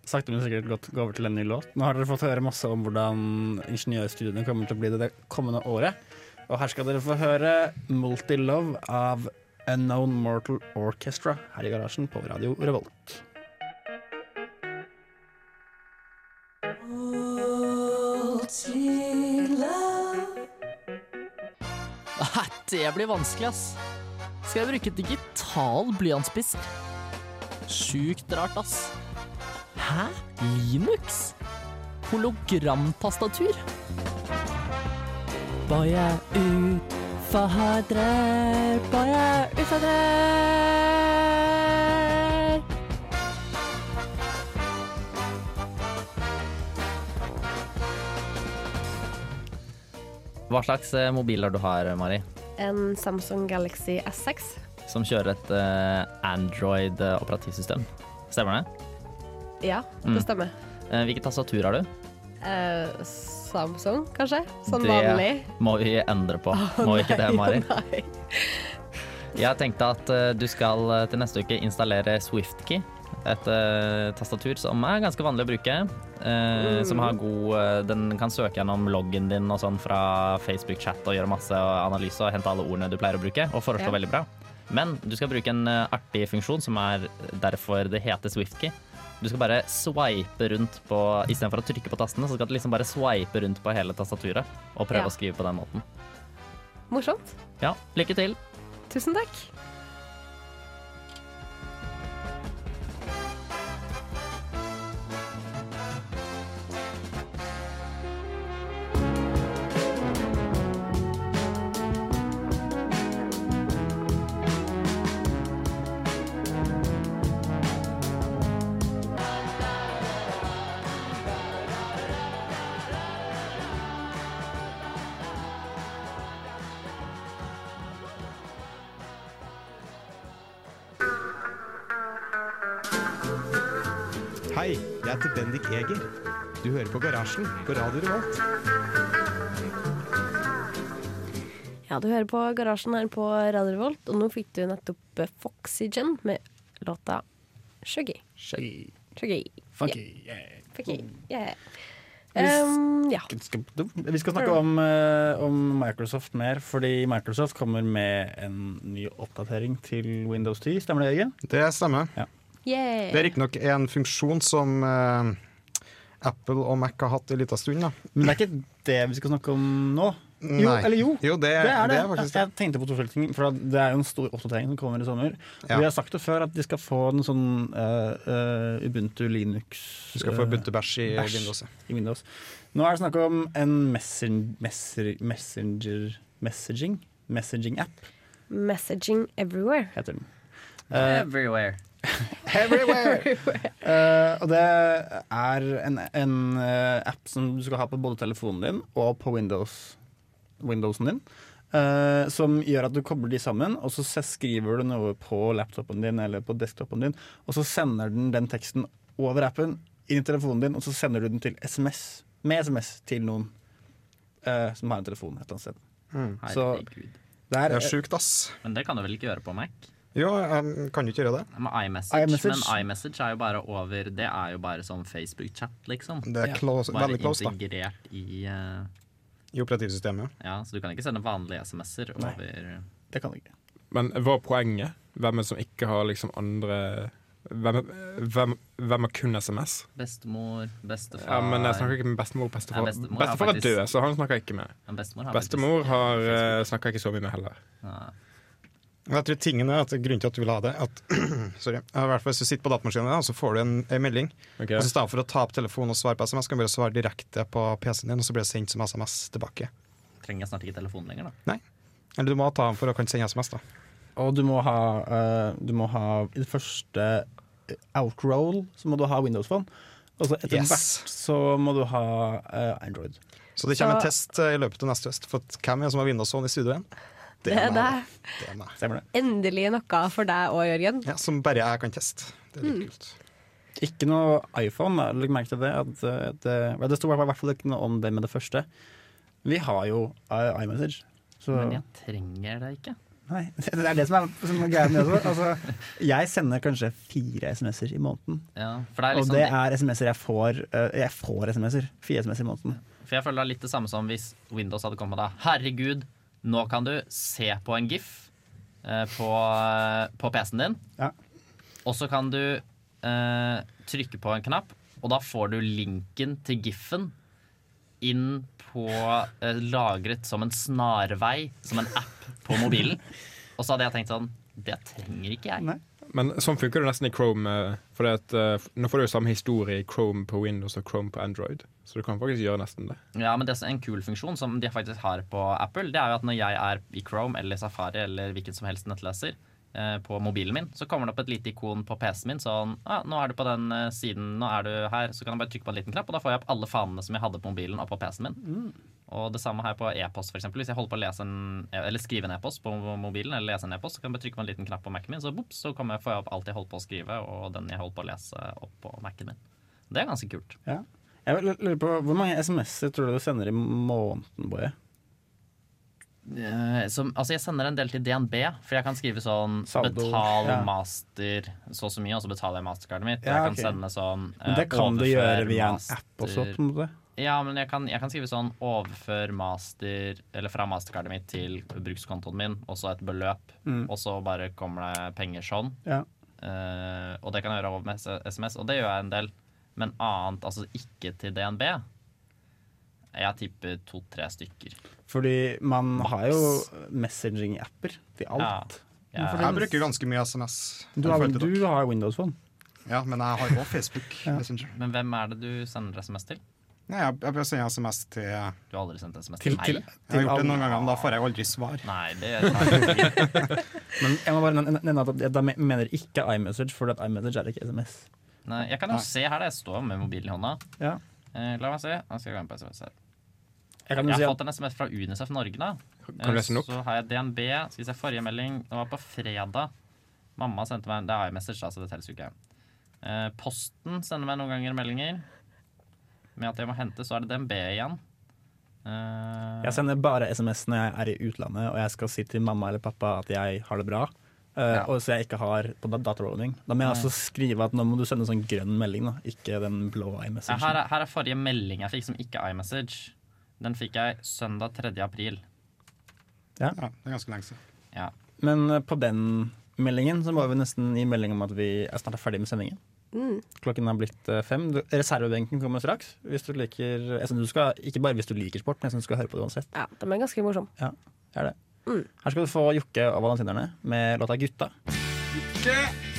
Speaker 2: sakte, men sikkert godt gå over til en ny låt. Nå har dere fått høre masse om hvordan ingeniørstudiene kommer til å bli det det kommende året. Og her skal dere få høre Multilove av Unknown Mortal Orchestra her i garasjen på Radio Revolt.
Speaker 8: Nei, det blir vanskelig, ass. Skal jeg bruke digital blyantspiss? Sjukt rart, ass. Hæ? Linux? Hologramtastatur? Bare utfordrer, bare utfordrer.
Speaker 9: Hva slags eh, mobiler du har, Mari,
Speaker 1: En Samsung Galaxy S6.
Speaker 9: som kjører et eh, Android-operativsystem? Stemmer det?
Speaker 1: Ja,
Speaker 9: Mm.
Speaker 1: det stemmer.
Speaker 9: Eh, Hvilket tastatur har du?
Speaker 1: Eh, Samsung, kanskje? Sånn
Speaker 9: Det-
Speaker 1: vanlig.
Speaker 9: Må vi endre på. Må vi ikke det, Mari?
Speaker 1: Nei.
Speaker 9: Jeg tenkte at eh, du skal eh, til neste uke installere SwiftKey. Et eh, tastatur som er ganske vanlig å bruke. eh, Som har god eh, Den kan søke gjennom loggen din og sånn fra Facebook-chat og gjøre masse analyse og hente alle ordene du pleier å bruke, og foreslå
Speaker 1: Ja.
Speaker 9: veldig bra. Men du skal bruke en eh, artig funksjon som er derfor det heter SwiftKey. Du skal bare swipe rundt på Istedenfor å trykke på tastene, så skal du liksom bare swipe rundt på hele tastaturet og prøve
Speaker 1: Ja.
Speaker 9: å skrive på den måten.
Speaker 1: Morsomt.
Speaker 9: Ja, lykke til.
Speaker 1: Tusen takk.
Speaker 4: Hei, jeg heter Bendik Eger. Du hører på Garasjen på Radio Revolt.
Speaker 1: Ja, du hører på Garasjen her på Radio Revolt, og nå fikk du nettopp eh, Foxygen med låta Shuggy.
Speaker 2: Shaggy,
Speaker 1: Shuggy.
Speaker 2: funky, yeah.
Speaker 1: Fikk jeg. Yeah.
Speaker 2: Hvis-
Speaker 1: Um, ja.
Speaker 2: Vi skal snakke om, eh, om Microsoft mer, fordi Microsoft kommer med en ny oppdatering til Windows 10. Stemmer det, Jørgen?
Speaker 4: Det stemmer. Det
Speaker 1: Yeah.
Speaker 4: er riktignok en funksjon som eh, Apple og Mac har hatt en liten stund. Da.
Speaker 2: Men det er ikke det vi skal snakke om nå. Jo,
Speaker 4: Nei.
Speaker 2: eller jo.
Speaker 4: Jo, det,
Speaker 2: Det er det.
Speaker 4: det er faktisk det.
Speaker 2: jeg tenkte på to flere ting, for det er jo en stor oppdatering som kommer i sommer.
Speaker 4: Ja.
Speaker 2: Vi har sagt det før at de skal få en sånn eh, eh, Ubuntu Linux
Speaker 4: Du skal få
Speaker 2: eh,
Speaker 4: buntebæsj i
Speaker 2: bæsj.
Speaker 4: Windows. ja.
Speaker 2: i Windows. Nå er det snakk om en messen- messer, messenger messaging messaging app,
Speaker 1: Messaging everywhere.
Speaker 2: heter den. Eh,
Speaker 9: Everywhere.
Speaker 2: Everywhere! Eh, og det er en, en eh, app som du skal ha på både telefonen din og på Windows, Windowsen din. eh, som gjør at du kobler de sammen, og så se- skriver du noe på laptopen din eller på desktopen din, og så sender den den teksten over appen inn i telefonen din, og så sender du den til SMS, med SMS til noen eh, som har en telefon et eller annet sted.
Speaker 9: Eh,
Speaker 2: Så-
Speaker 9: Herregud.
Speaker 2: Det
Speaker 4: Mm.
Speaker 2: er,
Speaker 4: Det er sjukt, ass.
Speaker 9: Men det kan du vel ikke gjøre på Mac?
Speaker 4: Jo, jeg kan jo ikke gjøre det.
Speaker 9: Med iMessage,
Speaker 2: iMessage.
Speaker 9: Men iMessage er jo bare over Det er jo bare sånn Facebook-chat, liksom.
Speaker 4: Det er
Speaker 2: Ja,
Speaker 4: close,
Speaker 9: Bare
Speaker 4: veldig close, da.
Speaker 9: integrert i eh,
Speaker 4: I operativsystemet.
Speaker 9: Ja, så du kan ikke sende vanlige SMS-er
Speaker 2: Nei.
Speaker 9: over
Speaker 2: det kan du ikke.
Speaker 3: Men hva er poenget? Hvem er det som ikke har liksom andre Hvem, hvem, hvem har kun SMS?
Speaker 9: bestemor, bestefar
Speaker 3: Ja, men jeg snakker ikke med bestemor og
Speaker 9: Nei,
Speaker 3: bestefar.
Speaker 9: bestemor er
Speaker 3: Bestefar er
Speaker 9: faktisk-
Speaker 3: død, så han snakker jeg ikke med.
Speaker 9: Men bestemor har
Speaker 3: Bestemor har,
Speaker 9: Facebook.
Speaker 3: eh, snakker jeg ikke så mye med heller.
Speaker 9: faktisk- Ja.
Speaker 4: Men Jeg tror tingen er at Grunnen til at du vil ha det, at sorry, i hvert fall hvis du sitter på datamaskinen, din, og så får du en, en melding.
Speaker 3: Ok.
Speaker 4: Og så I stedet for å ta opp telefonen og svare på SMS, kan du bare svare direkte på PC-en din, og så blir det sendt som SMS tilbake.
Speaker 3: eh,
Speaker 9: Trenger jeg snart ikke telefon lenger, da.
Speaker 4: Eller du må ta den for å kunne sende SMS, da.
Speaker 2: Og du må ha, eh, du må ha i det første eh, outroll, så må du ha Windows Phone. Og så etter
Speaker 4: Yes.
Speaker 2: hvert så må du ha eh, Android.
Speaker 4: Så det kommer
Speaker 1: Så-
Speaker 4: en test eh, i løpet av neste høst. For at hvem er det som har Windows Phone i studio igjen?
Speaker 1: Det er deg.
Speaker 4: Det er meg.
Speaker 2: Stemmer det?
Speaker 1: Endelig noe for deg òg, Jørgen.
Speaker 4: Ja, som bare jeg kan teste. Det er litt kult.
Speaker 2: Ikke noe iPhone. da. Legg merke til det. At eh, det, vel, det sto i hvert fall ikke noe om det med det første. Vi har jo eh, iMessage. Så,
Speaker 9: Men jeg trenger det ikke.
Speaker 2: nei, det er det som er, som er greia med det også. Altså, jeg sender kanskje fire SMS-er i måneden.
Speaker 9: Ja, for det er
Speaker 2: Og
Speaker 9: liksom
Speaker 2: det er SMS-er jeg får. eh, jeg får SMS-er. Fire SMS-er i måneden.
Speaker 9: For jeg føler det er litt det samme som hvis Windows hadde kommet med deg. Herregud, nå kan du se på en GIF eh, på, på PC-en din.
Speaker 2: Ja.
Speaker 9: Og så kan du eh, trykke på en knapp, og da får du linken til GIF-en inn på eh, Lagret som en snarvei, som en app på mobilen. Og så hadde jeg tenkt sånn Det trenger ikke jeg.
Speaker 2: Nei.
Speaker 3: Men sånn funker det nesten i Chrome. For at, eh, f- nå får du jo samme historie i Chrome på Windows og Chrome på Android. Så du kan faktisk gjøre nesten det.
Speaker 9: Ja, men det er en kul funksjon som de faktisk har på Apple, det er jo at når jeg er i Chrome eller Safari eller hvilken som helst nettleser eh, på mobilen min, så kommer det opp et lite ikon på PC-en min sånn ah, 'Nå er du på den eh, siden. Nå er du her.' Så kan jeg bare trykke på en liten knapp, og da får jeg opp alle fanene som jeg hadde på mobilen og på PC-en min. Og det samme har jeg på e-post, f.eks. Hvis jeg holder på å lese en, eller skrive en e-post på mobilen, eller lese en e-post, så kan jeg bare trykke på en liten knapp på Mac-en min, så, bops, så kommer jeg, får jeg opp alt jeg holdt på å skrive, og den jeg holdt på å lese opp på Mac-en min. Det er ganske kult.
Speaker 2: Ja. Jeg vil- lurer på, Hvor mange SMS-er tror du du sender i måneden, Boje?
Speaker 9: Eh, som, altså jeg sender en del til DNB, for jeg kan skrive sånn
Speaker 2: Saldo,
Speaker 9: Betal
Speaker 2: ja.
Speaker 9: master så og så mye, og så betaler jeg mastercardet mitt.
Speaker 2: Ja,
Speaker 9: jeg
Speaker 2: ok.
Speaker 9: kan sende sånn
Speaker 2: Men
Speaker 9: eh,
Speaker 2: det kan du
Speaker 9: overfør
Speaker 2: gjøre via en
Speaker 9: master-
Speaker 2: app også, på en måte.
Speaker 9: Ja, men jeg kan, jeg kan skrive sånn overfør master Eller fra mastercardet mitt til brukskontoen min, og så et beløp,
Speaker 2: Mm.
Speaker 9: og så bare kommer det penger sånn.
Speaker 2: Ja.
Speaker 9: Eh, og det kan jeg gjøre over med S- SMS, og det gjør jeg en del. Men annet, altså ikke til DNB. Jeg tipper to-tre stykker.
Speaker 2: Fordi man har jo messaging-apper til alt.
Speaker 9: Ja.
Speaker 2: for
Speaker 4: Jeg bruker ganske mye SMS.
Speaker 2: Du har,
Speaker 4: Jeg følte det.
Speaker 2: du har Windows Phone.
Speaker 4: Ja, men jeg har òg Facebook Messenger.
Speaker 9: Men hvem er det du sender SMS til?
Speaker 4: Nei, jeg, jeg bare sender SMS til Jeg
Speaker 9: Du har aldri sendt SMS til,
Speaker 2: Til- til-
Speaker 9: meg?
Speaker 4: har gjort det noen ganger, men da får jeg aldri svar.
Speaker 9: Nei, det tar jeg ikke.
Speaker 2: Men jeg må bare nevne- nevne at jeg da me- mener ikke iMessage, for iMessage er ikke SMS.
Speaker 9: Nei, jeg kan jo se her, da. Jeg står med mobilen i hånda.
Speaker 2: Ja.
Speaker 9: Eh, la meg se. Nå skal jeg gå inn på SMS her.
Speaker 2: Jeg kan
Speaker 9: Jeg
Speaker 2: jo si
Speaker 9: har
Speaker 2: at
Speaker 9: fått en SMS fra Unicef Norge, da. Eh,
Speaker 3: Kan du lese den opp?
Speaker 9: Så har jeg DNB. Skal vi se forrige melding. Den var på fredag. Mamma sendte meg en Det er iMessage, da, så altså, det telles jo ikke. Eh, posten sender meg noen ganger meldinger med at jeg må hente, så er det DNB igjen. Eh,
Speaker 2: jeg sender bare SMS når jeg er i utlandet og jeg skal si til mamma eller pappa at jeg har det bra. eh,
Speaker 9: Ja.
Speaker 2: Og så jeg ikke har på da- dataroaming. Da må jeg altså skrive at nå må du sende sånn grønn melding, da. ikke den blå
Speaker 9: Ja, her,
Speaker 2: iMessage.
Speaker 9: er, her er forrige melding jeg fikk som ikke er iMessage. Den fikk jeg søndag 3. april.
Speaker 4: Ja, det er ganske lenge siden.
Speaker 9: Ja.
Speaker 2: Men eh, på den meldingen så må vi nesten gi melding om at vi er snart ferdig med sendingen. Klokken er blitt eh, fem. Du- Reservebenken kommer straks. Hvis du liker, jeg synes du skal, ikke bare hvis du liker sport, men jeg synes du skal høre på det uansett.
Speaker 1: Ja, den er ganske morsom.
Speaker 2: Ja, det er det. Her skal du få Jokke og Valentinerne med låta 'Gutta'.
Speaker 3: Ikke